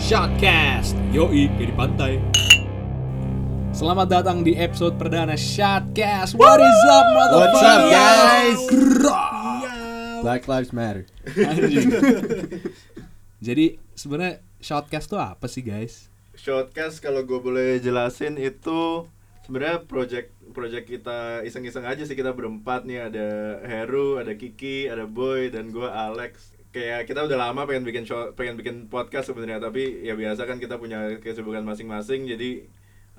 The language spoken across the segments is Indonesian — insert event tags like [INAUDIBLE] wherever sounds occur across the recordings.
Shotcast Yoi, kayak di pantai Selamat datang di episode perdana Shotcast What is up, motherfucker? What's up, guys? Grrrr. Black Lives Matter. [LAUGHS] Anjing. Jadi sebenarnya Shotcast tuh apa sih guys? Shortcast kalau gue boleh jelasin itu sebenarnya project project kita iseng-iseng aja sih kita berempat nih ada Heru, ada Kiki, ada Boy dan gue Alex. Kayak kita udah lama pengen bikin show, pengen bikin podcast sebenarnya tapi ya biasa kan kita punya kesibukan masing-masing jadi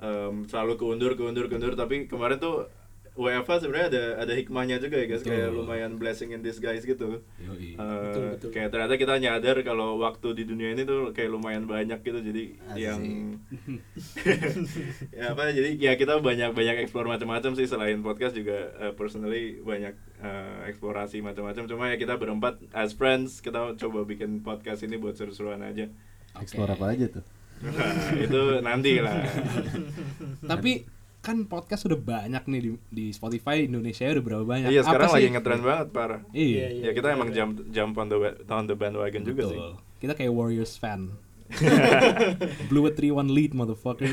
em, selalu keundur keundur keundur tapi kemarin tuh WFA sebenarnya ada ada hikmahnya juga ya guys kayak Betul. lumayan blessing in disguise gitu. Yoi. Eh, Kayak ternyata kita nyadar kalau waktu di dunia ini tuh kayak lumayan banyak gitu jadi Asik. [LAUGHS] yang ya apa jadi ya kita banyak banyak explore macam-macam sih selain podcast juga eh, personally banyak eh, eksplorasi macam-macam cuma ya kita berempat as friends kita coba bikin podcast ini buat seru-seruan aja Explore apa aja tuh? [LAUGHS] Nah, itu nanti lah Tapi kan podcast udah banyak nih di, di Spotify Indonesia udah berapa banyak? iya Apa sekarang sih? lagi ngetren banget parah Iya. ya kita emang jump jump on the wa- on the bandwagon juga Betul. sih [LAUGHS] Kita kayak Warriors fan. Blew a 3-1 lead motherfucker.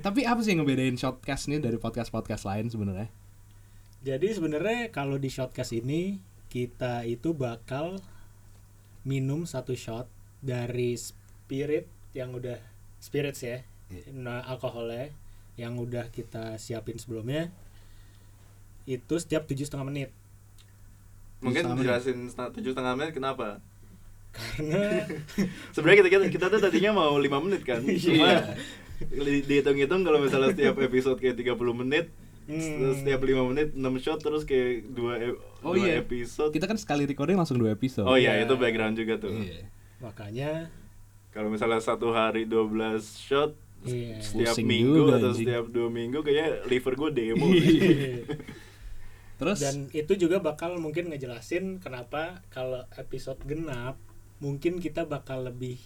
Tapi apa sih yang ngebedain shotcast ini dari podcast-podcast lain sebenarnya? Jadi sebenarnya kalau di shotcast ini kita itu bakal minum satu shot dari spirit yang udah spirits ya, nah alkoholnya yang udah kita siapin sebelumnya itu setiap tujuh setengah menit mungkin Sama. jelasin setengah- tujuh setengah menit kenapa karena sebenarnya kita, kita kita tuh tadinya mau 5 menit [LAUGHS] kan Iya. cuma di- dihitung-hitung kalau misalnya setiap episode kayak 30 menit Hmm. setiap 5 menit 6 shot terus kayak 2 Oh iya. episode Kita kan sekali recording langsung dua episode. oh iya Iya. itu background juga tuh Iya. makanya kalau misalnya satu hari 12 shot iya. setiap Pusing minggu juga, atau anjing. Iya. setiap dua minggu kayaknya liver gue demo Terus dan itu juga bakal mungkin ngejelasin kenapa kalau episode genap mungkin kita bakal lebih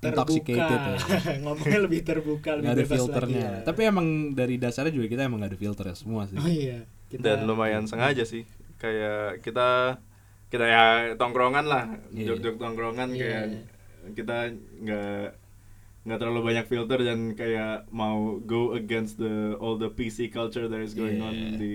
Intoxicated ya. terbuka [LAUGHS] ngomongnya lebih terbuka lebih nggak ada bebas filternya. lagi ya. Tapi emang dari dasarnya juga kita emang nggak ada filternya semua sih. oh iya kita dan lumayan sengaja sih kayak kita kita ya tongkrongan lah Iya. jog-jog tongkrongan Iya. kayak kita nggak nggak terlalu banyak filter dan kayak mau go against the all the PC culture that is going on Iya. di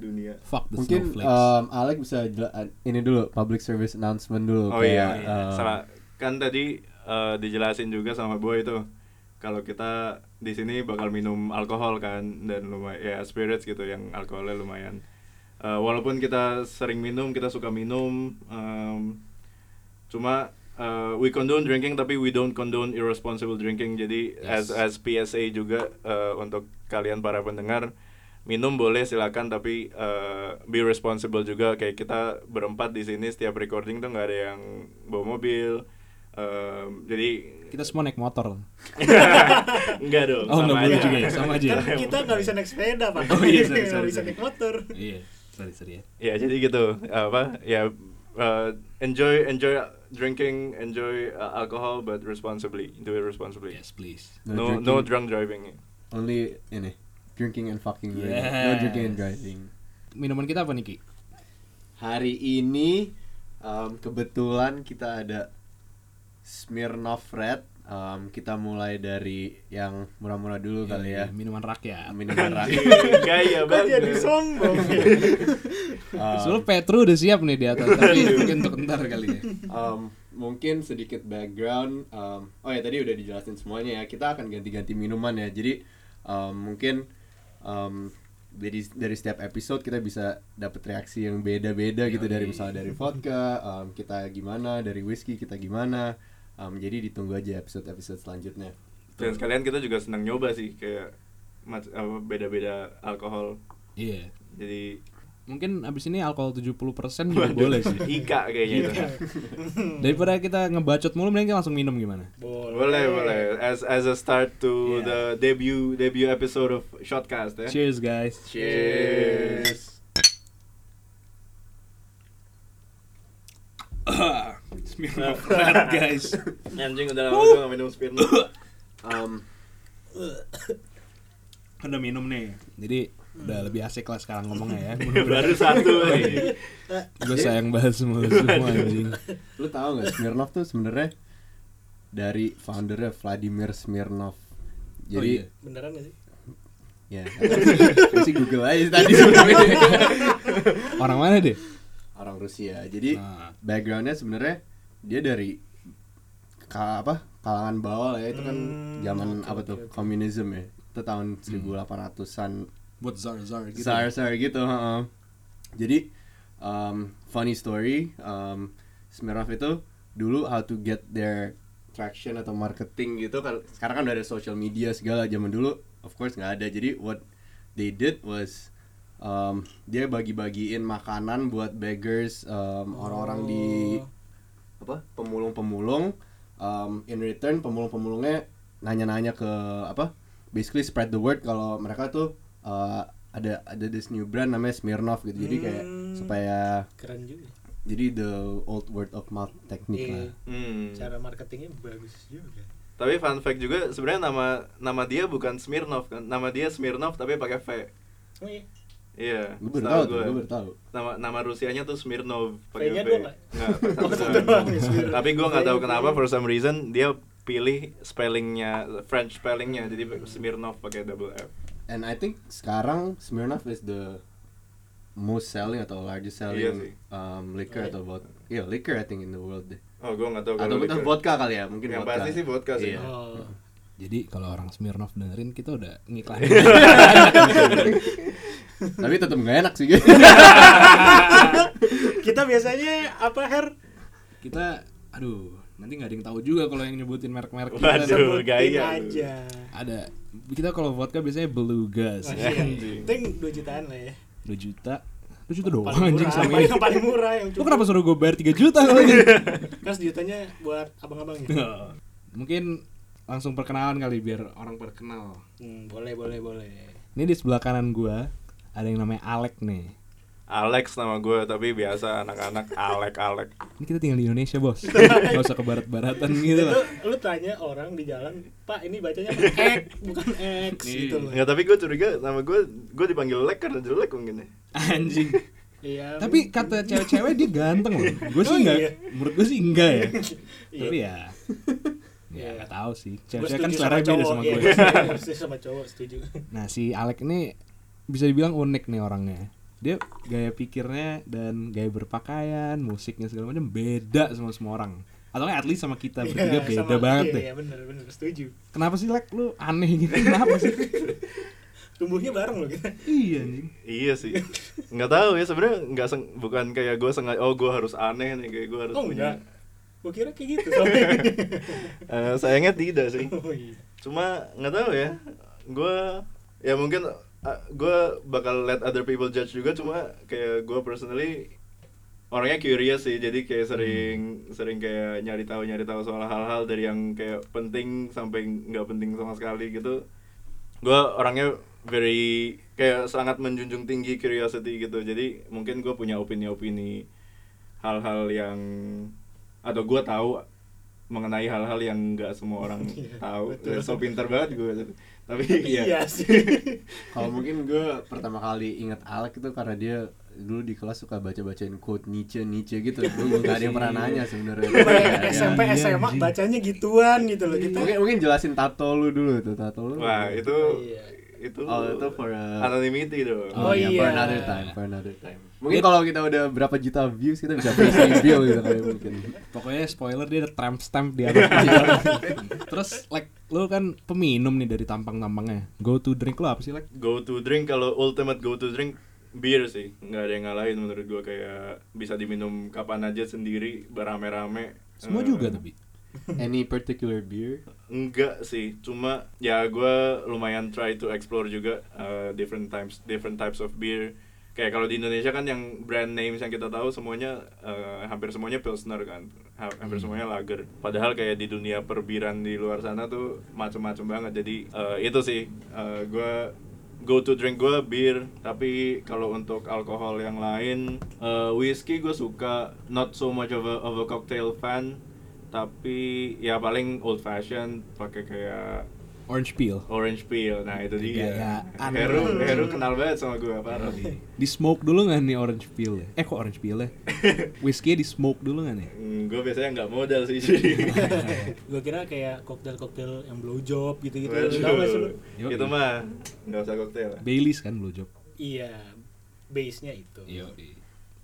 dunia Fuck the Mungkin snowflakes. um, Alex bisa jela- ini dulu public service announcement dulu. oh kayak, iya um, salah kan tadi eh, dijelasin juga sama boy itu kalau kita di sini bakal minum alkohol kan dan lumayan ya spirits gitu yang alkoholnya lumayan Eh, walaupun kita sering minum kita suka minum em, cuma eh, we condone drinking tapi we don't condone irresponsible drinking jadi Yes. as as PSA juga eh, untuk kalian para pendengar minum boleh silakan tapi eh, be responsible juga kayak kita berempat di sini setiap recording tuh nggak ada yang bawa mobil Em, jadi [LAUGHS] Kita semua naik motor. nggak dong Oh, nggak sama boleh aja. juga ya, sama aja. Iya. kan kita nggak bisa naik sepeda pak Oh [LAUGHS] iya, sorry, nggak sorry, bisa sorry. naik motor Iya. Sorry, sorry ya. [LAUGHS] ya jadi gitu apa ya uh, enjoy enjoy drinking enjoy uh, alcohol but responsibly do it responsibly Yes, please. no Nah, drinking, no drunk [LAUGHS] driving Only ini drinking and fucking. driving. No Yes. drinking and driving. Minuman kita apa nih, Ki? Hari ini um, kebetulan kita ada Smirnoff Red. Um, kita mulai dari yang murah-murah dulu kali ya. Iya, Minuman rakyat. [LAUGHS] Minuman Iya, rakyat. [LAUGHS] gaya kok jadi banget sombong ya? Um, Soalnya Petru udah siap nih di atas, tapi Iya. mungkin untuk ntar kali ya. Um, mungkin sedikit background. um, oh ya tadi udah dijelasin semuanya ya. Kita akan ganti-ganti minuman ya. Jadi um, mungkin um, dari dari setiap episode kita bisa dapat reaksi yang beda-beda gitu dari misalnya dari vodka um, kita gimana, dari whisky kita gimana. Um, jadi ditunggu aja episode-episode selanjutnya. dan sekalian kita juga senang nyoba sih kayak mac- apa, beda-beda alkohol Iya. jadi Mungkin abis ini alkohol 70% juga Iya, boleh sih. Ika kayaknya itu [LAUGHS] [LAUGHS] Daripada kita ngebacot mulu, mending kita langsung minum gimana? boleh boleh as as a start to Iya. the debut debut episode of shotcast ya Cheers guys. cheers [COUGHS] Smirnoff Red guys. [LAUGHS] anjing udah lama gue gak minum Smirnoff Um, Udah minum nih. Jadi udah lebih asik lah sekarang [LAUGHS] ngomongnya ya. [LAUGHS] baru [LAUGHS] satu aja Iya. [LAUGHS] Gue sayang banget semua semua anjing. lu tahu nggak Smirnoff tuh sebenarnya dari foundernya Vladimir Smirnov. Oh Oh, iya. Jadi Beneran gak sih? ya aku sih Google aja tadi [LAUGHS] sebenarnya. Orang mana deh? orang Rusia. Jadi Nah. backgroundnya sebenarnya dia dari ka, apa kalangan bawah lah ya itu kan Hmm, zaman oke, apa oke, tuh oke. komunisme ya itu tahun 1800-an Buat Zar Zar gitu. Sar sar gitu heeh. jadi um, funny story um, Smirnoff itu dulu how to get their traction atau marketing gitu kan sekarang kan udah ada social media segala zaman dulu of course nggak ada jadi what they did was um, dia bagi-bagiin makanan buat beggars um, orang-orang di apa pemulung-pemulung um, in return pemulung-pemulungnya nanya-nanya ke apa basically spread the word kalau mereka tuh uh, ada ada this new brand namanya Smirnoff gitu jadi kayak Hmm. supaya Keren juga. jadi the old word of mouth teknik Iya. lah Hmm. Cara marketingnya bagus juga. Tapi fun fact juga sebenarnya nama nama dia bukan Smirnov kan. Nama dia Smirnov tapi pakai V. Oh iya. Iya. gue baru setahu tahu tuh gua. gue baru tahu Nama nama Rusianya tuh Smirnov V-nya pakai V. dua, Pak? [LAUGHS] Nggak, satu Oh, satu doang. doang, Smirnov. Tapi gua nggak tahu V-nya kenapa dua. for some reason dia pilih spellingnya French spellingnya jadi Smirnov pakai double F. and I think sekarang Smirnoff is the most selling atau largest selling Iya sih. um, liquor Right. atau vodka iya liquor I think in the world deh Oh, gua nggak tahu atau kalau atau liquor. vodka kali ya mungkin Yang vodka. pasti sih vodka sih. Iya. Oh. Jadi kalau orang Smirnoff dengerin kita udah ngiklanin. [LAUGHS] [LAUGHS] tapi tetap nggak enak sih [LAUGHS] Kita biasanya apa Her? kita aduh, nanti nggak ada yang tahu juga kalau yang nyebutin merek-merek kita. Waduh, Sebutin gaya lu. aja. Ada kita kalau vodka biasanya beluga sih. Masih, ya. Ting 2 jutaan lah ya. 2 juta. 2 juta doang Paling anjing murah, sama paling, ini. paling murah yang Lu cukup. kenapa suruh gue bayar 3 juta kalau ini? [LAUGHS] Kan sejutanya buat ya? abang-abangnya. Nah, Mungkin langsung perkenalan kali biar orang terkenal. Hmm, boleh, boleh, boleh. Ini di sebelah kanan gua ada yang namanya Alek nih. Alex nama gua tapi biasa anak-anak Alek Alek. Ini kita tinggal di Indonesia, [LAUGHS] Bos. Gak usah ke barat-baratan gitu Lu, lah. [LAUGHS] lu tanya orang di jalan, "Pak, ini [LAUGHS] bacanya apa? ek, bukan X" gitu loh. Enggak, tapi gue curiga nama gue gue dipanggil lek karena jelek mungkin ya. Anjing. Iya. Tapi kata cewek-cewek dia ganteng loh. Gue sih Oh, enggak, iya. menurut gue sih enggak ya. Iya. Tapi ya Iya. Ya gak tahu sih. Gua Cewek-cewek kan setuju selera beda sama iya, gue. gua setuju sama cowok setuju. Nah, si Alek ini bisa dibilang unik nih orangnya. Dia gaya pikirnya dan gaya berpakaian, musiknya segala macam beda sama semua orang. Atau nggak at least sama kita bertiga Iya, beda sama- banget iya, deh. Iya, benar, benar setuju. [LAUGHS] Kenapa sih Lek lu aneh gitu? [LAUGHS] Kenapa sih? Tumbuhnya bareng loh kita. iya anjing. Iya sih. [LAUGHS] Nggak tahu ya sebenarnya nggak seng, bukan kayak gue sengaja oh gue harus aneh nih kayak gue harus Oh, punya. enggak. Gua kira kayak gitu [LAUGHS] sampai. Eh, sayangnya tidak sih. oh, iya. Cuma nggak tahu ya. Gue ya mungkin gue bakal let other people judge juga cuma kayak gue personally orangnya curious sih jadi kayak Hmm. sering sering kayak nyari tahu nyari tahu soal hal-hal dari yang kayak penting sampai nggak penting sama sekali gitu gue orangnya very kayak sangat menjunjung tinggi curiosity gitu jadi mungkin gue punya opini-opini hal-hal yang atau gue tahu mengenai hal-hal yang nggak semua orang [LAUGHS] Iya, tahu betul. so pinter banget gue tapi Iya [LAUGHS] iya sih. Kalau mungkin gue pertama kali inget Alek itu karena dia dulu di kelas suka baca-bacain quote Nietzsche Nietzsche gitu. Gue gak ada yang pernah nanya sebenarnya. Kayak Ya, SMP iya, SMA anjing. bacanya gituan gitu loh kita. [LAUGHS] Mungkin mungkin jelasin tato lu dulu tuh tato lu. wah itu Iya. itu Oh, itu for a- anonymity dong Oh, ya, For iya. another time, for another time. Mungkin kalau kita udah berapa juta views kita bisa pay bill gitu kali mungkin. Pokoknya spoiler dia ada tramp stamp di [LAUGHS] atas meja. Terus Lek lu kan peminum nih dari tampang-tampangnya. Go to drink lu apa sih Lek? go to drink kalau ultimate go to drink bir sih nggak ada yang ngalahin menurut gua kayak bisa diminum kapan aja sendiri berame-rame Semua Eh, juga tapi. Any particular beer? enggak sih cuma ya gua lumayan try to explore juga eh, different times different types of beer kayak kalau di Indonesia kan yang brand names yang kita tahu semuanya eh, hampir semuanya pilsner kan Ha- hampir semuanya lager padahal kayak di dunia perbiran di luar sana tuh macem-macem banget jadi eh, itu sih eh, gua go to drink gue bir tapi kalau untuk alkohol yang lain eh, whisky gue suka not so much of a, of a cocktail fan tapi ya paling old fashion pakai kayak Orange Peel. Orange Peel. Nah, itu Gaya Iya, dia. aneh. Heru, Heru kenal banget sama gue parah nih. Di smoke dulu nggak nih Orange Peel? Eh kok Orange Peel ya? Whisky di smoke dulu nggak nih? gue Hmm, biasanya nggak modal sih jadi. Gue kira kayak koktail-koktail yang blow job gitu-gitu. Waduh. Gitu. Tahu nggak sih lu? Yoi. Itu mah nggak usah koktail. lah. Baileys kan blowjob. Iya, base-nya itu. Iya.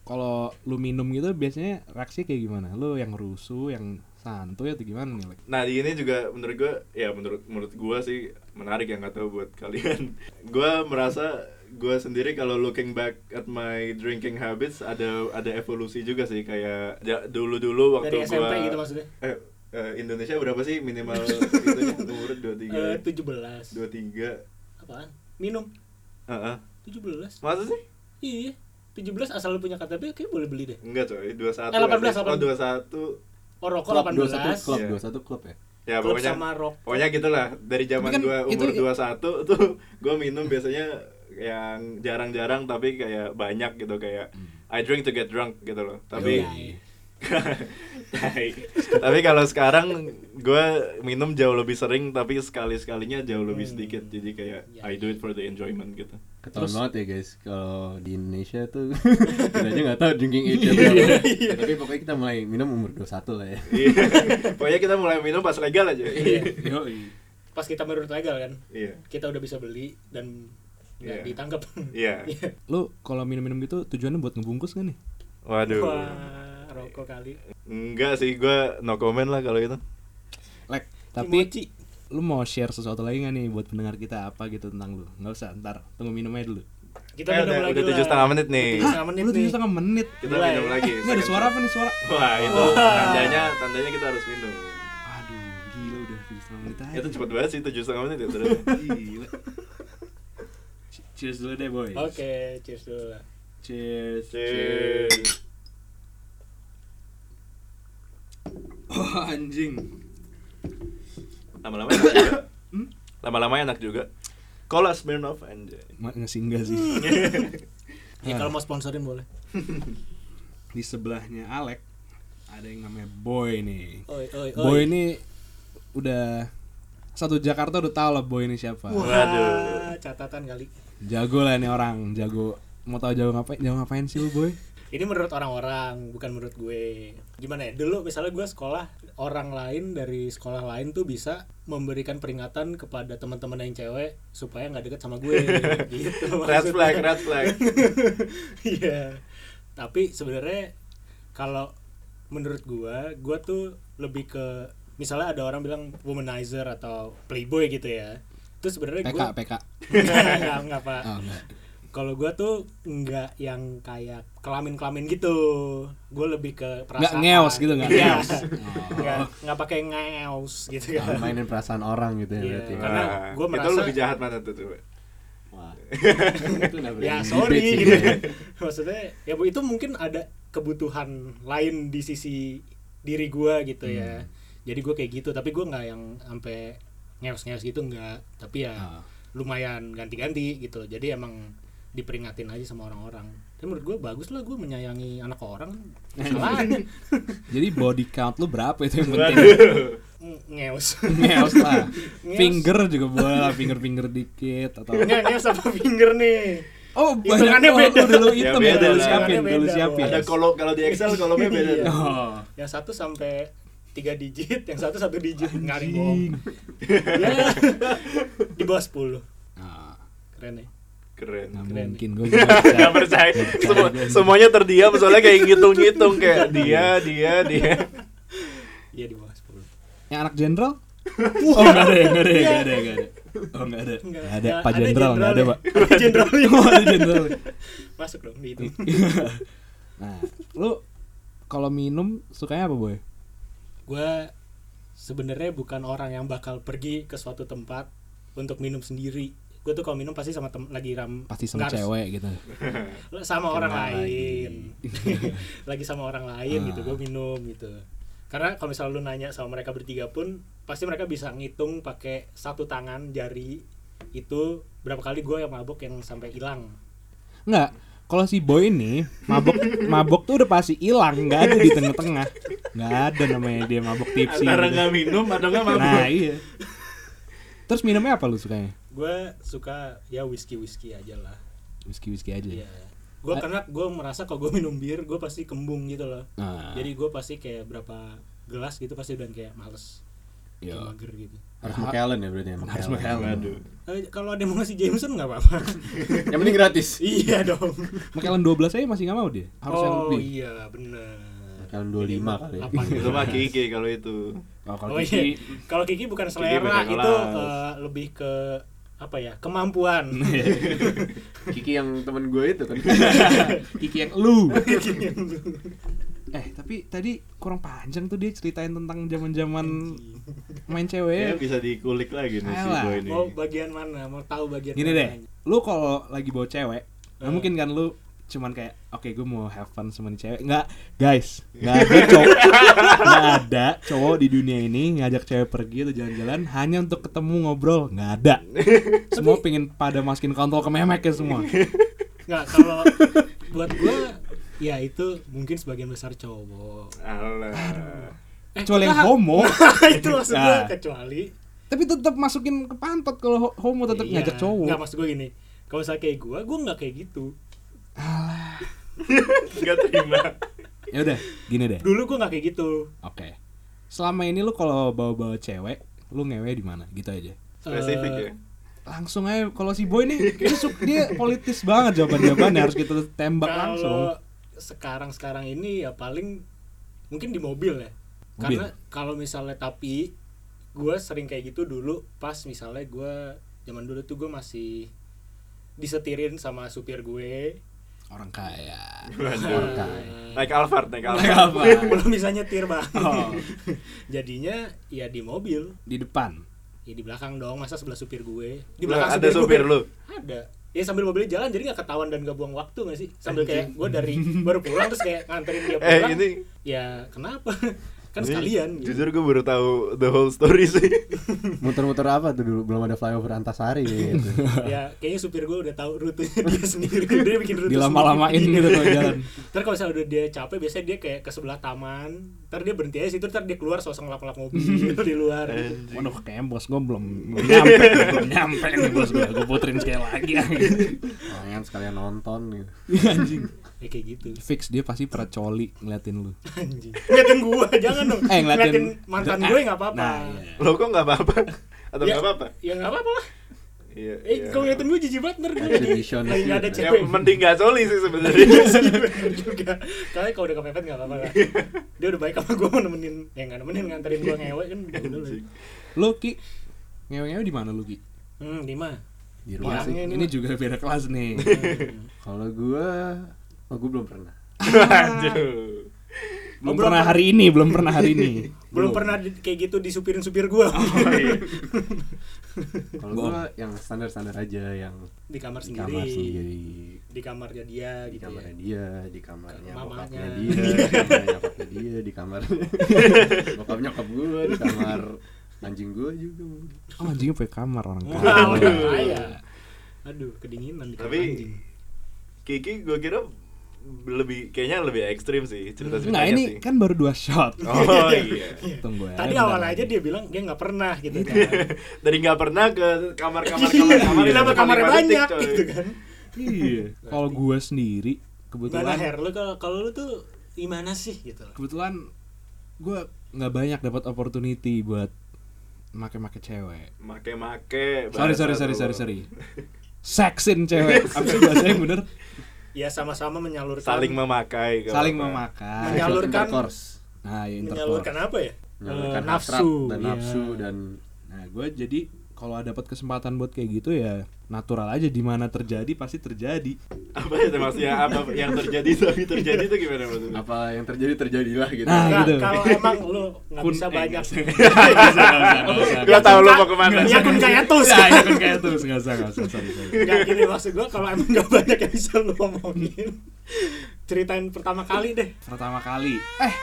Kalau lu minum gitu biasanya reaksi kayak gimana? Lu yang rusuh, yang santuy atau gimana nih? Lek? Nah, di ini juga menurut gue, ya menurut menurut gue sih menarik yang nggak tahu buat kalian. [LAUGHS] gue merasa gue sendiri kalau looking back at my drinking habits ada ada evolusi juga sih kayak ja- dulu-dulu waktu Dari SMP gua- gitu maksudnya? Eh, eh, Indonesia berapa sih [LAUGHS] minimal itunya umur Eh, 23 17. 23 Apaan? Minum. Heeh. 17. Masa sih? Iya. 17 asal lu punya KTP kayak boleh beli deh. Enggak coy, 21 Eh, 18, habis. Oh 21 Oh, rokok Klub 18. 21 klub Iya. 21 klub ya. Ya Klub pokoknya sama rok. Pokoknya gitulah dari zaman Tapi kan gua umur itu- 21 [LAUGHS] tuh gua minum biasanya yang jarang-jarang tapi kayak banyak gitu kayak I drink to get drunk gitu loh. Tapi Yoi. [LAUGHS] Tai. tapi kalau sekarang gua minum jauh lebih sering tapi sekali-sekalinya jauh lebih sedikit jadi kayak Hmm. Ya. I do it for the enjoyment gitu. Ketahuan Terus- banget ya guys, kalau di Indonesia tuh [LAUGHS] kita aja nggak tahu drinking age Iya, berapa. Ya, Tapi pokoknya kita mulai minum umur 21 lah ya. Iya. Pokoknya kita mulai minum pas legal aja. Iya. [LAUGHS] Yoi. Pas kita menurut legal kan, Iya. kita udah bisa beli dan nggak Iya. ditangkap. [LAUGHS] Iya. Lu kalau minum-minum gitu tujuannya buat ngebungkus gak nih? Waduh. Wah, rokok kali. Enggak sih gua no comment lah kalau gitu. itu. Lek, tapi Kimochi. lu mau share sesuatu lagi gak nih buat pendengar kita apa gitu tentang lu? Nggak usah, ntar tunggu minumnya dulu. Kita Eh, minum udah, lagi udah lah. tujuh setengah menit nih. Tujuh setengah Lu menit nih. Iya, tujuh setengah menit. Kita Mulai. minum lagi. Ini ada suara apa nih suara? Wah itu tandanya tandanya kita harus minum. Aduh, gila udah tujuh setengah menit aja. Itu cepet banget sih tujuh setengah menit ya terus. Gila. Cheers dulu deh, boy. Oh. Oke, cheers dulu lah. Cheers. Cheers. Wah, Oh, anjing. Lama-lama enak juga. Lama-lama enak juga. Cola Smirnoff anjay. Ma- Ngasih enggak sih? Hmm. Iya. Ya kalau mau sponsorin boleh. Di sebelahnya Alek ada yang namanya Boy nih. Oi, oi, oi. Boy ini udah satu Jakarta udah tau lah Boy ini siapa. Wah, Waduh. catatan kali. Jago lah nih orang, jago. Mau tahu jago ngapain? Jago ngapain sih lu, Boy? Ini menurut orang-orang, bukan menurut gue. Gimana ya? Dulu misalnya gue sekolah, orang lain dari sekolah lain tuh bisa memberikan peringatan kepada teman-teman yang cewek supaya nggak deket sama [LAUGHS] gue. gitu. Red maksudnya. flag, red flag. Iya. Tapi sebenarnya kalau menurut gua, gua tuh lebih ke misalnya ada orang bilang womanizer atau playboy gitu ya. Itu sebenarnya PK, [LAUGHS] gua PK. Nggak, nggak, nggak, Pak. Oh, enggak. Kalau gua tuh nggak yang kayak kelamin-kelamin gitu. Gua lebih Enggak ke perasaan. ngeos gitu, enggak Iya. [LAUGHS] ngeos. Oh. Nggak, nggak pakai ngeos gitu Nah, kan. mainin perasaan orang gitu ya Iya. berarti. Karena Wah, gua Nah, Itu merasa- lebih jahat mana tuh tuh. [LAUGHS] Wah. Itu udah ya berani sorry debate sih gitu kita ya. maksudnya ya bu itu mungkin ada kebutuhan lain di sisi diri gua gitu ya jadi gua kayak gitu tapi gua nggak yang sampai ngeos-ngeos gitu nggak tapi ya Ah. lumayan ganti-ganti gitu loh. jadi emang diperingatin aja sama orang-orang tapi menurut gua bagus lah gua menyayangi anak orang salahnya Jadi body count lu berapa itu yang penting? Waduh. Ng- ngeos Ngeos lah. Ngeos. Finger juga boleh lah, finger-finger dikit atau [LAUGHS] nggak ngeos apa finger nih Oh, Hitungannya banyak beda. oh, Udah lu Ya, hitung ya, beda udah lu lah. siapin, udah lu Hitungannya siapin. beda, Ada kalau kalau di Excel kolomnya beda. Iya. tuh. Oh. yang satu sampai tiga digit, yang satu satu digit, nggak ada yang [LAUGHS] bohong. Ya, di bawah 10 Ah, keren ya. Keren. nggak Keren. mungkin gue [LAUGHS] Gak percaya. Semua, semuanya terdiam soalnya kayak ngitung-ngitung kayak dia, dia, dia. Iya di bawah 10 Yang anak jenderal? Oh nggak ada, nggak ada, nggak ada, nggak ada. Oh nggak ada, Nggak, nggak ada. nggak, Pak ada ya. Jenderal nggak ada jenderalnya. [LAUGHS] pak. [LAUGHS] Ada jenderalnya. Oh, ada jenderal. masuk dong gitu. di itu. Nah, lu kalau minum sukanya apa boy? gue sebenarnya bukan orang yang bakal pergi ke suatu tempat untuk minum sendiri. Gue tuh kalau minum pasti sama tem- lagi ram Pasti sama nggak harus- cewek gitu. sama orang Kenal lain [LAUGHS] lagi sama orang lain Ah. gitu gue minum gitu karena kalau misalnya lu nanya sama mereka bertiga pun pasti mereka bisa ngitung pakai satu tangan jari itu berapa kali gue yang mabok yang sampai hilang Nggak. Kalau si boy ini [LAUGHS] mabok mabok tuh udah pasti hilang, nggak ada di tengah-tengah. Nggak ada namanya dia mabok tipsi. Antara gitu. nggak minum atau nggak mabuk. Nah iya. Terus minumnya apa lu sukanya? gue suka ya whisky whisky aja lah Whisky whisky aja. Iya. Gue karena gue merasa kalau gue minum bir, gue pasti kembung gitu loh. Nah, Jadi gue pasti kayak berapa gelas gitu pasti udah kayak males, yo. kayak mager gitu. Harus McAllen ya berarti ya. harus McAllen. McAllen. Aduh. Eh, kalau ada yang mau ngasih Jameson nggak [LAUGHS] apa-apa. Yang penting gratis. iya dong. McAllen 12 aja masih nggak mau dia. Harus yang oh lebih. iya bener. McAllen 25 kali. Apa? itu mah Kiki kalau itu Oh, ya. kalau Oh Kiki- iya. Kalau Kiki bukan Kiki selera beda itu kelas. eh, lebih ke apa ya [LAUGHS] kemampuan. [LAUGHS] [LAUGHS] Kiki yang temen gue itu kan. [LAUGHS] Kiki yang [LAUGHS] lu. eh, tapi tadi kurang panjang tuh dia ceritain tentang zaman-zaman main ya cewek. Iya, bisa dikulik lagi nih si Ayolah. boy ini mau bagian mana? Mau tahu bagian Gini mana? deh, lu kalau lagi bawa cewek, nggak mungkin kan lu cuman kayak oke gue mau have fun sama nih cewek nggak guys nggak [LAUGHS] ada cowok nggak ada cowok di dunia ini ngajak cewek pergi atau jalan-jalan hanya untuk ketemu ngobrol nggak [LAUGHS] ada semua pengen pada masukin kontol ke memek ya semua Eh, Nggak kalau buat gue ya itu mungkin sebagian besar cowok. Alah. Eh, kecuali yang kita- homo [LAUGHS] itu maksud gue Nah. kecuali tapi tetap masukin ke pantat kalau ho- homo tetap Iya. ngajak cowok nggak maksud gue gini kalau misalnya kayak gue gue nggak kayak gitu nggak terima ya udah gini deh oke dulu gue nggak kayak gitu selama ini lu kalau bawa-bawa cewek lu ngewe di mana gitu aja spesifik Eh, ya langsung aja kalau si boy nih dia, su- dia politis banget jawaban jawabannya harus kita tembak langsung kalau sekarang sekarang ini ya paling mungkin di mobil ya Mobil? karena kalau misalnya tapi gue sering kayak gitu dulu pas misalnya gue zaman dulu tuh gue masih disetirin sama supir gue orang kaya Waduh. Nah, naik Alphard naik Naik Alphard apa belum bisa nyetir bang Oh. jadinya ya di mobil di depan ya di belakang dong masa sebelah supir gue di Lah, belakang ada supir gue. lu ada ya sambil mobilnya jalan jadi nggak ketahuan dan nggak buang waktu nggak sih sambil kayak gue [LAUGHS] dari baru pulang terus kayak nganterin eh dia pulang ini ya kenapa [LAUGHS] kan ini sekalian gitu. jujur gue baru tahu the whole story [LAUGHS] sih [LAUGHS] Muter-muter apa tuh dulu belum ada flyover Antasari gitu. [LAUGHS] ya kayaknya supir gue udah tahu rutenya [LAUGHS] dia sendiri dia bikin rute dilama-lamain sendiri. gitu kalau kan. jalan ntar kalau misalnya udah dia capek biasanya dia kayak ke sebelah taman ntar dia berhenti aja situ ntar dia keluar sosok lap-lap [LAUGHS] mobil di luar Eh. Waduh kayaknya bos gue belum belum nyampe Belum nyampe nih bos gue Gue puterin sekali [LAUGHS] lagi Pengen sekalian nonton gitu. Anjing ya kayak gitu Fix dia pasti pernah coli ngeliatin lu anjing ngeliatin gue [LAUGHS] jangan dong Eh, ngeliatin- mantan Nah, gue nggak apa-apa Nah iya lo kok nggak apa-apa atau Ya. nggak apa-apa ya nggak apa-apa lah iya Eh, iya. kau ngeliatin gue jijik banget ntar gue Action lagi vision lagi nggak ada ya cewek. [LAUGHS] mending nggak soli sih sebenarnya juga. Kalian kalau udah kepepet nggak apa-apa [LAUGHS] lah. Dia udah baik sama gue mau nemenin, ya nggak nemenin nganterin gue ngewe kan udah lah. Anjing. Lu Ki Ngewe-ngewe di mana lu Ki? Hmm, lima. Di Iya. rumah sih. ini juga beda kelas [LAUGHS] nih Kalau gue Oh gue belum pernah Aduh. belum pernah hari ini belum pernah hari ini Belum pernah di- kayak gitu disupirin supir gue Oh. Kalau gue yang standar-standar aja Yang [LAUGHS] di kamar di sendiri. kamar sendiri Di kamarnya dia di gitu kamarnya ya. dia, di kamarnya Mamanya. bokapnya dia, di kamarnya nyokapnya dia, di kamar [LAUGHS] bokap nyokap gue, di kamar anjing gue juga. oh anjingnya punya kamar orang Wah, kaya udah bahaya. Aduh, kedinginan di [LAUGHS] kamar Tapi- anjing. Kiki gue kira lebih kayaknya lebih ekstrim sih cerita nah ceritanya ini sih. kan baru dua shot Oh iya. [LAUGHS] [LAUGHS] tunggu ya Tadi bentar awal lagi. aja dia bilang dia nggak pernah gitu kan. Dari nggak pernah ke kamar-kamar kamar-kamar Iya, kenapa itu kamarnya paling banyak coy. gitu kan. iya kalau gue sendiri Gimana kebetulan Her, lu kalau kalau lu tuh gimana sih gitu loh. kebetulan gue nggak banyak dapat opportunity buat make-make cewek Make-make. sorry bahasa sorry sorry lu. sorry sorry seksin [LAUGHS] cewek apa sih bahasanya yang bener Ya sama-sama menyalurkan Saling memakai. nggak saling apa-apa. memakan Ah, Menyalurkan- course, nah ya intercourse menyalurkan apa ya? menyalurkan Eh, hasrat dan iya. nafsu dan Nah, gue jadi kalau dapat kesempatan buat kayak gitu ya natural aja di mana terjadi pasti terjadi. [LAUGHS] Apa ya maksudnya apa yang terjadi [LAUGHS] tapi terjadi itu gimana maksudnya? apa yang terjadi terjadilah gitu. Nah, Nggak, gitu. Kalau emang lu nggak Kun- bisa eh, banyak. Iya, Gua tahu lu mau kemana. Ya kun kayak tus. Nah, ya kan kayak terus nggak usah nggak usah sorry, sorry. [LAUGHS] Nggak, gini maksud gua kalau emang nggak banyak yang bisa lu ngomongin. Ceritain pertama kali deh. Pertama kali. Eh.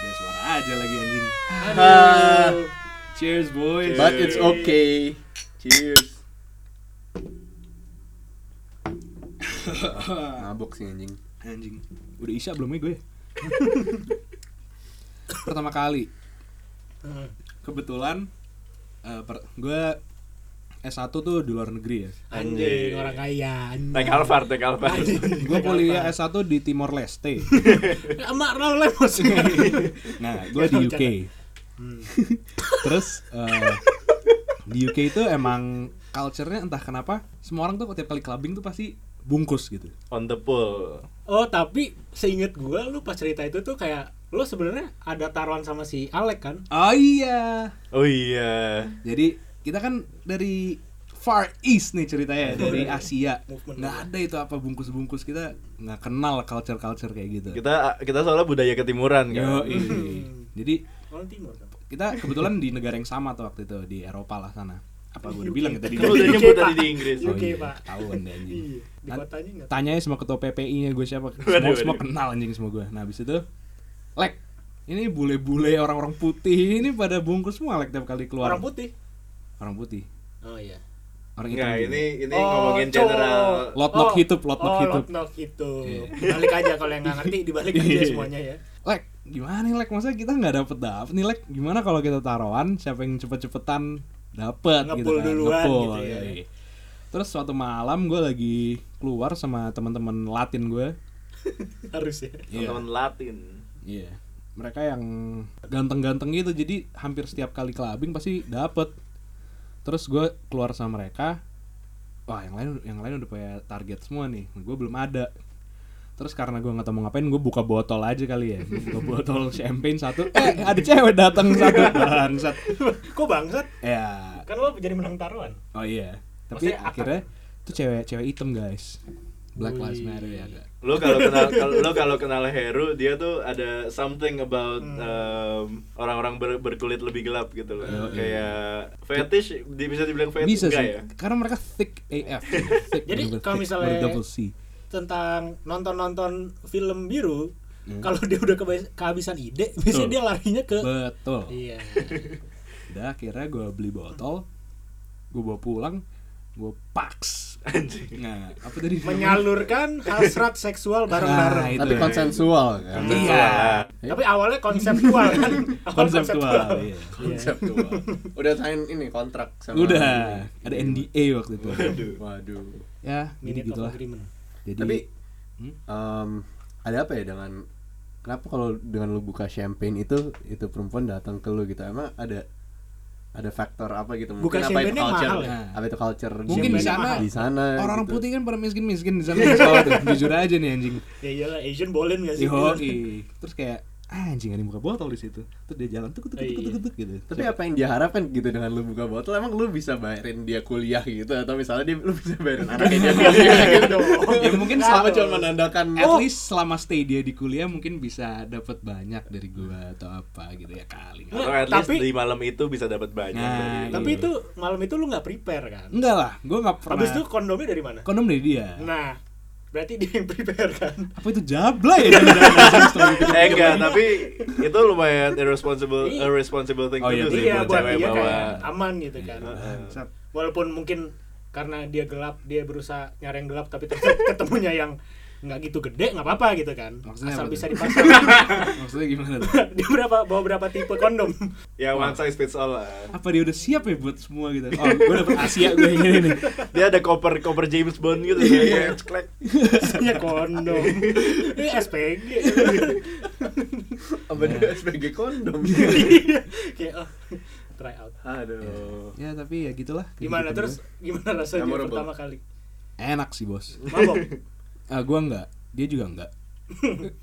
Udah suara aja lagi anjing. Eh. Aduh. Cheers boys. But it's okay. [LAUGHS] Cheers. Mabok sih anjing. Anjing. Udah isya belum ya gue? Pertama kali. Hmm. Kebetulan eh, per- gue S1 tuh di luar negeri ya. Anjing, orang kaya. anjing. Naik Alphard, naik Alphard. Anjing, Eh, Gue naik kuliah Alphard. S1 di Timor Leste. Sama Raul Lemos. [LAUGHS] Nah, gue di UK. Hmm. [LAUGHS] Terus eh, di UK itu emang culture-nya entah kenapa semua orang tuh tiap kali clubbing tuh pasti bungkus gitu. On the pool. Oh, tapi seinget gua lu pas cerita itu tuh kayak lu sebenarnya ada taruhan sama si Alek kan? Oh iya. Oh iya. Jadi kita kan dari Far East nih ceritanya dari Asia. Movement. Nggak ada itu apa bungkus-bungkus kita nggak kenal culture-culture kayak gitu. Kita kita soalnya budaya ketimuran kan. Yoi. Hmm. Jadi Orang timur kan. kita kebetulan di negara yang sama tuh waktu itu di Eropa lah sana. Apa gue udah bilang ya tadi? Kan udah Di nyebut UK, tadi Pak. di Inggris. Oh UK, iya, Pak. ketahuan deh anjing. Iya, di Nah, kotanya enggak. Tanya sama ketua PPI-nya gue siapa. Semua, Waduh, semua waduh. kenal anjing semua gue. Nah, habis itu Lek, ini bule-bule orang-orang putih ini pada bungkus semua Lek tiap kali keluar. Orang putih. Orang putih. Oh iya. Orang hitam. Enggak, Iya. juga. ini ini Oh, ngomongin cowok. general. Lot-lot hidup, lot-lot oh, hidup. lot-lot hidup. Iya. Balik aja kalau yang nggak ngerti dibalik aja Iya. semuanya ya. Lek, gimana nih Lek? Masa kita nggak dapet dapet nih Lek? Gimana kalau kita taruhan siapa yang cepet-cepetan dapet kan. Ngepul duluan Ngepul, gitu ya. iya. Terus suatu malam gue lagi keluar sama teman-teman Latin gue. Harus ya. Teman Latin. Iya. Mereka yang ganteng-ganteng gitu jadi hampir setiap kali clubbing pasti dapet. Terus gue keluar sama mereka. Wah, yang lain yang lain udah punya target semua nih. Gue belum ada. Terus karena gue nggak tahu mau ngapain, gue buka botol aja kali ya. [LAUGHS] Gua Buka botol champagne satu. Eh, ada cewek datang satu [LAUGHS] bangsat. Kok bangsat? Ya. Kan lo jadi menang taruhan. Oh iya. Tapi Maksudnya apa? akhirnya itu cewek cewek hitam, guys. Black Wih. Lives Matter ya, Kak. Lo kalau kenal [LAUGHS] kalau lo kalau kenal Heru, dia tuh ada something about um, orang-orang ber- berkulit lebih gelap gitu loh. Iya, iya. Kayak fetish di- bisa dibilang fetish Bisa enggak sih. ya? [LAUGHS] Karena mereka thick [LAUGHS] AF. Thick, Jadi bener-bener kalau thick, misalnya- berdouble C. Tentang nonton-nonton film biru, Hmm. kalau dia udah kebais- kehabisan ide, biasanya Betul. dia larinya ke Betul. Iya. Udah akhirnya gue beli botol, gue bawa pulang, gue paks. Anjing. Nah, apa tadi? namanya? Menyalurkan hasrat seksual Nah, bareng-bareng. itu. Tapi konsensual kan. Iya. Tapi awalnya konseptual [LAUGHS] kan. Awalnya Konseptual. Iya. Konseptual. [LAUGHS] Udah sign ini kontrak sama Udah, ada NDA waktu itu. Waduh. Waduh. Ya, jadi Minute of gitulah. gitu agreement. Jadi Tapi Hmm? em, ada apa ya dengan kenapa kalau dengan lu buka champagne itu itu perempuan datang ke lu gitu emang ada ada faktor apa gitu mungkin Buka apa itu champagne-nya culture mahal ya? apa itu culture di- Mungkin di sana di sana orang gitu. putih kan pada miskin-miskin di sana Iya, di sekolah tuh. Jujur aja nih anjing. Ya iyalah Asian Bolen gak Iya. sih? Yoi. Terus kayak ah, anjing ada yang buka botol di situ. Terus dia jalan tuk tuk tuk tuk tuk, tuk gitu. tapi apa yang dia harapkan gitu dengan lu buka botol emang lu bisa bayarin dia kuliah gitu atau misalnya dia lu bisa bayarin [LAUGHS] anaknya dia kuliah gitu ya mungkin Nggak selama dong. apa cuma mengandalkan at least selama stay dia di kuliah mungkin bisa dapat banyak dari gua atau apa gitu ya kali nggak- Atau at least Tapi- di malam itu bisa dapat banyak. Nah, dari- iya. Tapi itu malam itu lu nggak prepare kan? enggak lah gua nggak pernah Habis itu kondomnya dari mana? kondom dari dia Nah, berarti [LAUGHS] dia yang prepare kan? apa itu jablay ya Setelah dipikir-pikir Eh enggak, tapi itu lumayan irresponsible Iya. irresponsible thing Oh, to iya, do sih Iya, buat buat cewek dia bawa. kayak aman gitu kan. Bangsat. Walaupun mungkin karena dia gelap, dia berusaha nyari yang gelap tapi ternyata [LAUGHS] ketemunya yang nggak gitu gede nggak apa-apa gitu kan Maksudnya asal apa bisa tuh? dipasang [LAUGHS] maksudnya gimana tuh? dia berapa bawa berapa tipe kondom [LAUGHS] Ya one size fits all lah. apa dia udah siap ya buat semua gitu oh gua [LAUGHS] dapet Asia gua yang ini nih Dia ada koper koper James Bond gitu kayak klek. [LAUGHS] isinya kondom ini SPG apa dia sebagai [LAUGHS] kondom Iya. kayak oh, try out Aduh. ya tapi ya gitulah gimana Kehidupan terus gimana rasanya Memorable. pertama kali gua. enak sih bos [LAUGHS] mabok ah gua enggak dia juga [LAUGHS] enggak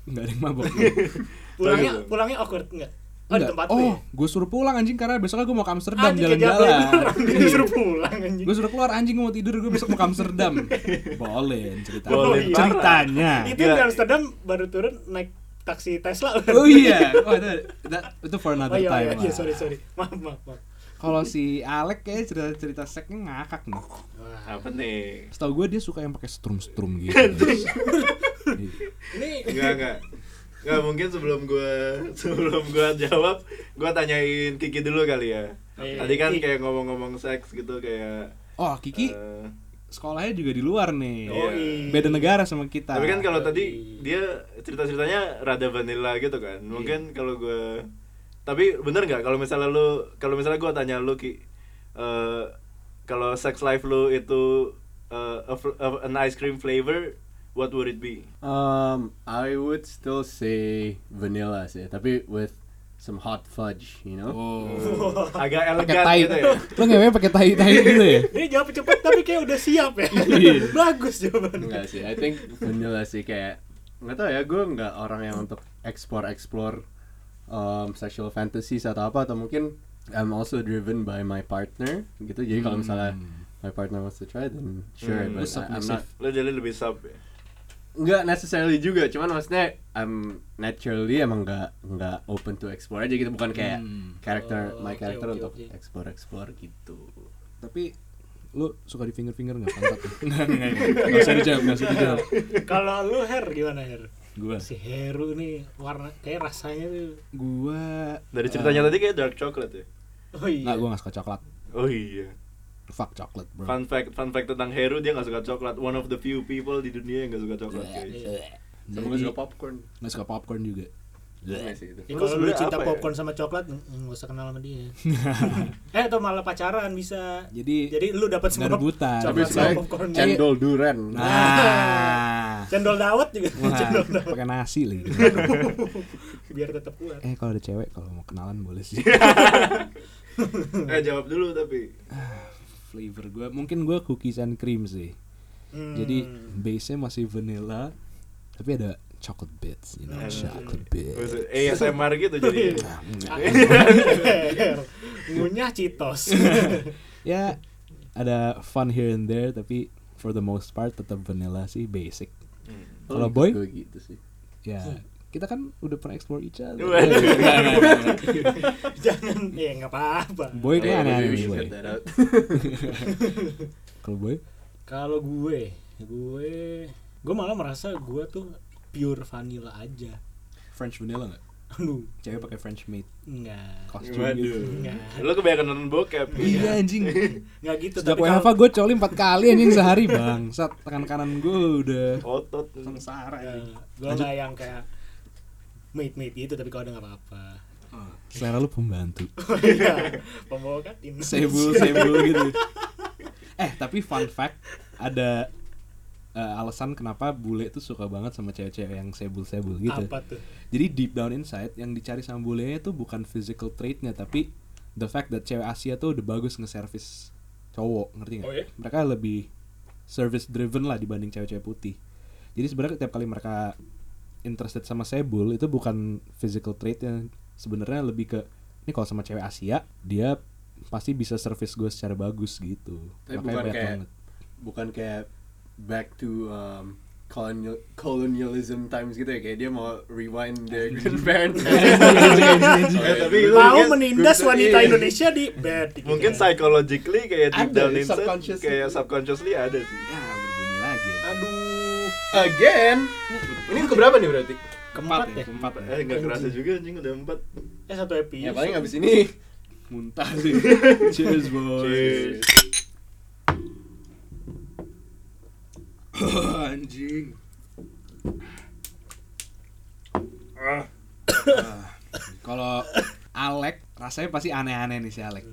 enggak ada yang mabok pulangnya Tahu gitu. pulangnya awkward nggak oh di Enggak. tempat lu oh ya? gue suruh pulang anjing karena besoknya gue mau ke Amsterdam Anjing, kejam jalan-jalan [LAUGHS] bener. disuruh pulang anjing gue suruh keluar anjing gue mau tidur gue besok mau ke [LAUGHS] Amsterdam boleh ceritanya Boleh, parah. ceritanya itu di Amsterdam baru turun naik taksi Tesla oh [LAUGHS] iya oh, itu, that- itu for oh another iya, time iya, iya, lah. sorry sorry maaf maaf maaf kalau si Alek kayak cerita cerita seknya ngakak nih Wah. Apa nih? setahu gue dia suka yang pakai strum strum [LAUGHS] gitu Iya. ini Enggak, enggak. Enggak mungkin sebelum gua sebelum gua jawab, gua tanyain Kiki dulu kali ya. Oke. Tadi kan Kiki. kayak ngomong-ngomong seks gitu kayak oh Kiki eh, sekolahnya juga di luar nih Iya. Yoi. beda negara sama kita Tapi kan kalau tadi Yoi. dia cerita-ceritanya rada vanilla gitu kan. Mungkin kalau gua tapi bener nggak kalau misalnya lu kalau misalnya gua tanya lu Ki eh, kalau sex life lu itu eh, a fl- a- an ice cream flavor, what would it be? Um, I would still say vanilla sih, tapi with some hot fudge, you know. Oh. Agak Pakai elegan tai. gitu [LAUGHS] ya. Lu ngewe pakai tai tai gitu ya? [LAUGHS] Ini jawab cepet tapi kayak udah siap ya. Iya. [LAUGHS] Bagus jawabannya. Enggak sih, I [LAUGHS] think vanilla sih kayak nggak tahu ya, gue nggak orang yang untuk explore explore um, sexual fantasies atau apa atau mungkin I'm also driven by my partner gitu. Jadi kalau misalnya my partner wants to try, then sure. Hmm. Lu But I, I'm Hmm. submissive. not Lu jadi lebih sub ya. nggak necessarily juga cuman maksudnya I'm naturally emang nggak nggak open to explore aja gitu bukan kayak Hmm. character Oh, my oke, character oke, untuk oke. explore explore gitu Tapi lu suka di finger finger nggak pantat? Nggak nggak nggak. Nggak usah dijawab, nggak usah dijawab. Kalau lu Her gimana Her? Gua, Si Heru nih warna kayak rasanya tuh. gua Ah. Dari ceritanya tadi kayak dark chocolate ya. Oh iya. Nggak, gua nggak suka coklat. Oh iya. Fuck coklat, bro. Fun fact, fun fact tentang Heru dia nggak suka coklat. One of the few people di dunia yang nggak suka coklat. Iya, guys. sama Jadi, gue suka popcorn nggak suka popcorn Iya juga. Iya. Sama sih itu Ya, Lu kalau lu sebenarnya cinta apa ya? popcorn sama coklat, mm, nggak usah kenal sama dia. eh atau malah pacaran bisa. [LAUGHS] Jadi Jadi lu dapat nggak semua rebutan. Tapi tapi Sama saya popcorn. cendol Nah, duren [LAUGHS] Nah. Cendol dawet juga. Wah, [LAUGHS] Cendol dawet. pakai nasi lagi. Biar tetap kuat. eh kalau ada cewek kalau mau kenalan boleh sih. Eh jawab dulu tapi. Flavor gua mungkin gua cookies and cream sih. Hmm. Jadi base-nya masih vanilla tapi ada chocolate bits, you know, Hmm. chocolate bits. ASMR gitu jadi. Ah, enggak. Her, [LAUGHS] ngunyah citos. ya ada fun here and there tapi for the most part tetap vanilla sih basic. Kalau boy? gue gitu sih Ya, kita kan udah pernah explore each other. Waduh. Enggak, enggak, enggak, enggak. [LAUGHS] Jangan ya nggak apa-apa. boy Iya, Maybe kayak aneh-aneh we nih, should boy. cut that out. [LAUGHS] Kalau boy, Kalau gue, gue gue malah merasa gue tuh pure vanilla aja. French vanilla enggak? Aduh, Cewek pakai French maid enggak. costume gitu. Waduh. Enggak. Lu kebanyakan nonton bokep. Iya anjing. Enggak gitu Sejak tapi kalau- WFH gue coli 4 kali anjing sehari bang Sat, tangan kanan gue udah Otot. sengsara Ya, anjing gue nggak yang kayak mate-mate gitu tapi kalau udah nggak apa-apa Selera lu pembantu Iya, pembawa Iya. katin [LAUGHS] Sebul, sebul gitu Eh tapi fun fact Ada eh, alasan kenapa bule tuh suka banget sama cewek-cewek yang sebul-sebul gitu apa [LAUGHS] tuh Jadi deep down inside yang dicari sama bulenya tuh bukan physical trait-nya Tapi the fact that cewek Asia tuh udah bagus nge-service cowok Ngerti nggak? Oh, iya? Mereka lebih service driven lah dibanding cewek-cewek putih Jadi sebenarnya tiap kali mereka interested sama Sebul itu bukan physical trait yang sebenarnya lebih ke ini kalau sama cewek Asia dia pasti bisa service gue secara bagus gitu. Tapi bukan kayak- banget. bukan kayak back to um, colonial colonialism times gitu ya kayak dia mau rewind their [LAUGHS] grandparents Iya, Eh, tapi lu mau mungkin- menindas Good- wanita iya. Indonesia di bed gitu Mungkin kan. psychologically kayak deep Ada, down inside subconsciously. kayak subconsciously ada sih. Ya, berbunyi lagi. aduh again ini keberapa nih berarti keempat ya keempat ya. Eh nggak kerasa juga anjing udah empat. eh satu episode ya paling abis ini Muntah sih. Cheers boys. Cheers. Anjing. Ah, Kalau Alek rasanya pasti aneh-aneh nih si Alek.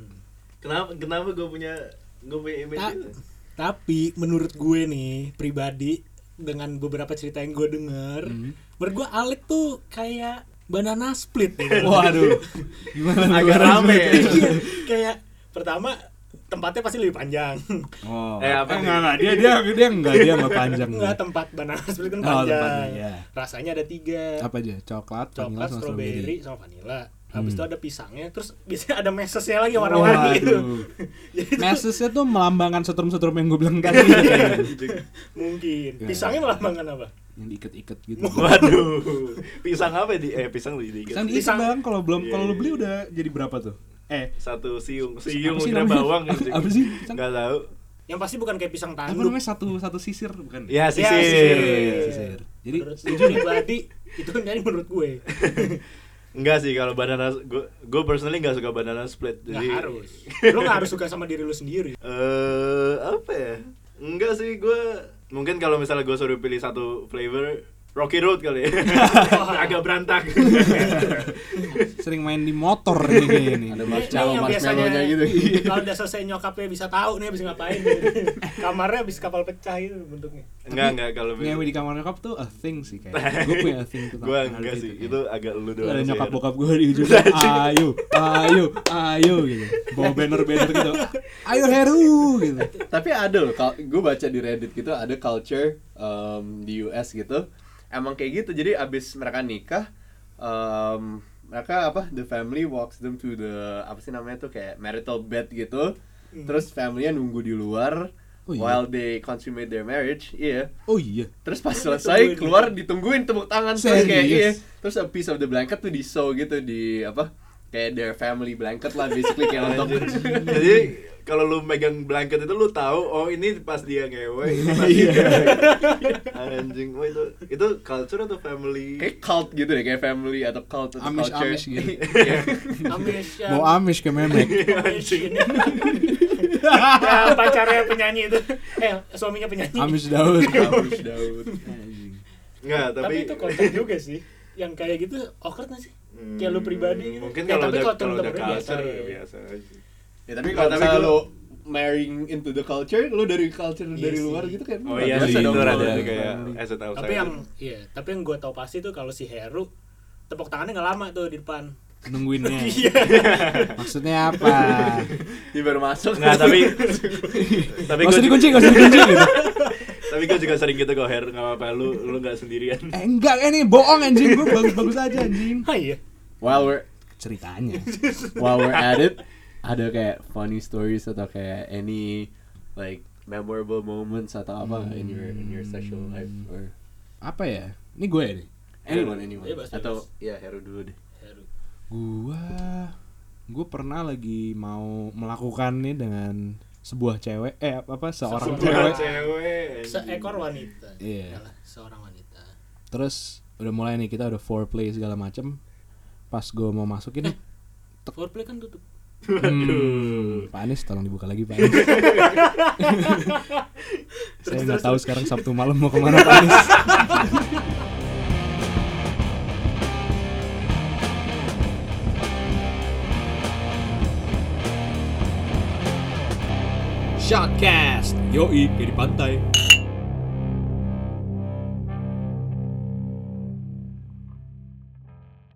Kenapa kenapa gue punya gue punya image Ta- itu? tapi menurut gue nih pribadi dengan beberapa cerita yang gue denger Mhm. menurut gue Alek tuh kayak banana split nih. [LAUGHS] Waduh. Gimana? Agak gimana? rame ya. Iya, kayak pertama tempatnya pasti lebih panjang Oh. Eh, apa enggak, enggak, dia dia dia enggak dia enggak panjang. Enggak tempat banana split kan Oh, panjang. tempatnya, ya. Rasanya ada tiga. apa aja? Coklat, vanilla, Coklat, sama [LAUGHS] strawberry, sama vanilla. Habis Hmm. itu ada pisangnya, terus biasanya ada mesesnya lagi warna-warni gitu. Waduh. Jadi tuh Mesesnya tuh melambangkan setrum-setrum yang gue bilang [LAUGHS] tadi. [LAUGHS] mungkin. Ya. Pisangnya melambangkan apa? yang diikat-ikat gitu. Waduh, pisang apa di eh pisang di di- Pisang diikat Pisang. Kan bang, kalau belum Iya, kalau lu iya. beli udah jadi berapa tuh? Eh, satu siung siung Apa sih kira namanya? bawang Apa- anjing. apa sih? Pisang? Nggak tahu. Yang pasti bukan kayak pisang apa tanduk. namanya satu satu sisir bukan? Ya sisir. sisir. sisir. Jadi Jadi pribadi itu dari menurut [LAUGHS] gue. Enggak sih kalau banana gue gue personally nggak suka banana split. Nggak Jadi harus. Lo nggak harus suka sama diri lo sendiri. Eh apa ya? Enggak sih gue mungkin kalau misalnya gue suruh pilih satu flavor Rocky Road [LAUGHS] kali ya. agak berantak Sering main di motor nih kayaknya nih. Ada Ini- marshmallow ini yang marshmallownya gitu. [LAUGHS] [LAUGHS] Kalau udah selesai nyokapnya bisa tahu nih habis ngapain. Kamarnya habis kapal pecah gitu [LAUGHS] bentuknya. [LAUGHS] enggak enggak kalau Ngewe di kamar nyokap tuh a thing sih [LAUGHS] kayaknya. Gue punya a thing tentang gue hal enggak sih itu agak lu Itu doang ada sih, gitu. nyokap Her. bokap gue di ujung ayo ayo ayo gitu bawa banner banner gitu ayo Heru gitu tapi ada loh gue baca di Reddit gitu ada culture um, di US gitu emang kayak gitu jadi abis mereka nikah um, mereka apa the family walks them to the apa sih namanya tuh kayak marital bed gitu terus family-nya nunggu di luar Iya. Oh iya. while they consummate their marriage iya oh iya terus pas Ditungguin. selesai keluar ditungguin tepuk tangan terus kayak iya Serius? terus a piece of the blanket tuh di show gitu di apa kayak their family blanket lah [LAUGHS] basically kayak untuk [LAUGHS] jadi kalau lu megang blanket itu lu tahu oh ini pas dia ngewe ini pas Iya. dia anjing wah itu itu culture atau family Eh, kayak cult gitu deh kayak family atau cult atau Amish- culture Amish gitu. [LAUGHS] Iya. Amish. yang- mau Amish ke memek Amish [LAUGHS] ini. Yang Ya, pacarnya penyanyi itu. Eh, suaminya penyanyi. Amish [LAUGHS] Daud Amish Daud enggak tapi, Tapi, itu kocak juga sih. Yang kayak gitu awkward gak sih? Hmm, Kayak lu pribadi gitu. mungkin Ya, kalau tapi udah kalau kalau udah temen-temennya culture ya biasa, iya. biasa aja ya tapi kalau Tapi misalnya gua- lo marrying into the culture lo dari culture Iya dari sih. luar gitu kan Oh iya nggak Iya, sih, biasa itu dong bener rada kalau ada. dari kayak family. as an outsider. Tapi [LAUGHS] yang iya, tapi yang gue tau pasti tuh kalau si Heru tepuk tangannya nggak lama tuh di depan. nungguinnya [LAUGHS] Iya. maksudnya apa ini baru masuk Nggak, [LAUGHS] tapi- tapi gak gua usah juga- dikunci gak usah dikunci gitu tapi gue juga sering gitu kok Her nggak apa-apa lu lu nggak sendirian eh enggak ini bohong anjing gue bagus-bagus aja anjing Hah, iya. while we're ceritanya while we're at it ada kayak funny stories atau kayak any like memorable moments atau apa in your in your sexual life or apa ya ini gue ya nih anyone anyone Bebas, atau ya Heru dulu deh Heru. gua gue pernah lagi mau melakukannya dengan sebuah cewek eh apa apa seorang Sebuah cewek cewek anjing. Seekor wanita. Iya. Yalah, Seorang wanita. terus udah mulai nih kita udah foreplay segala macem pas gue mau masukin Foreplay kan tutup. hmm, Pak Anies tolong dibuka lagi Pak Anies saya nggak tahu sekarang Sabtu malam mau kemana Pak Anies Shotcast Yoi, kayak di pantai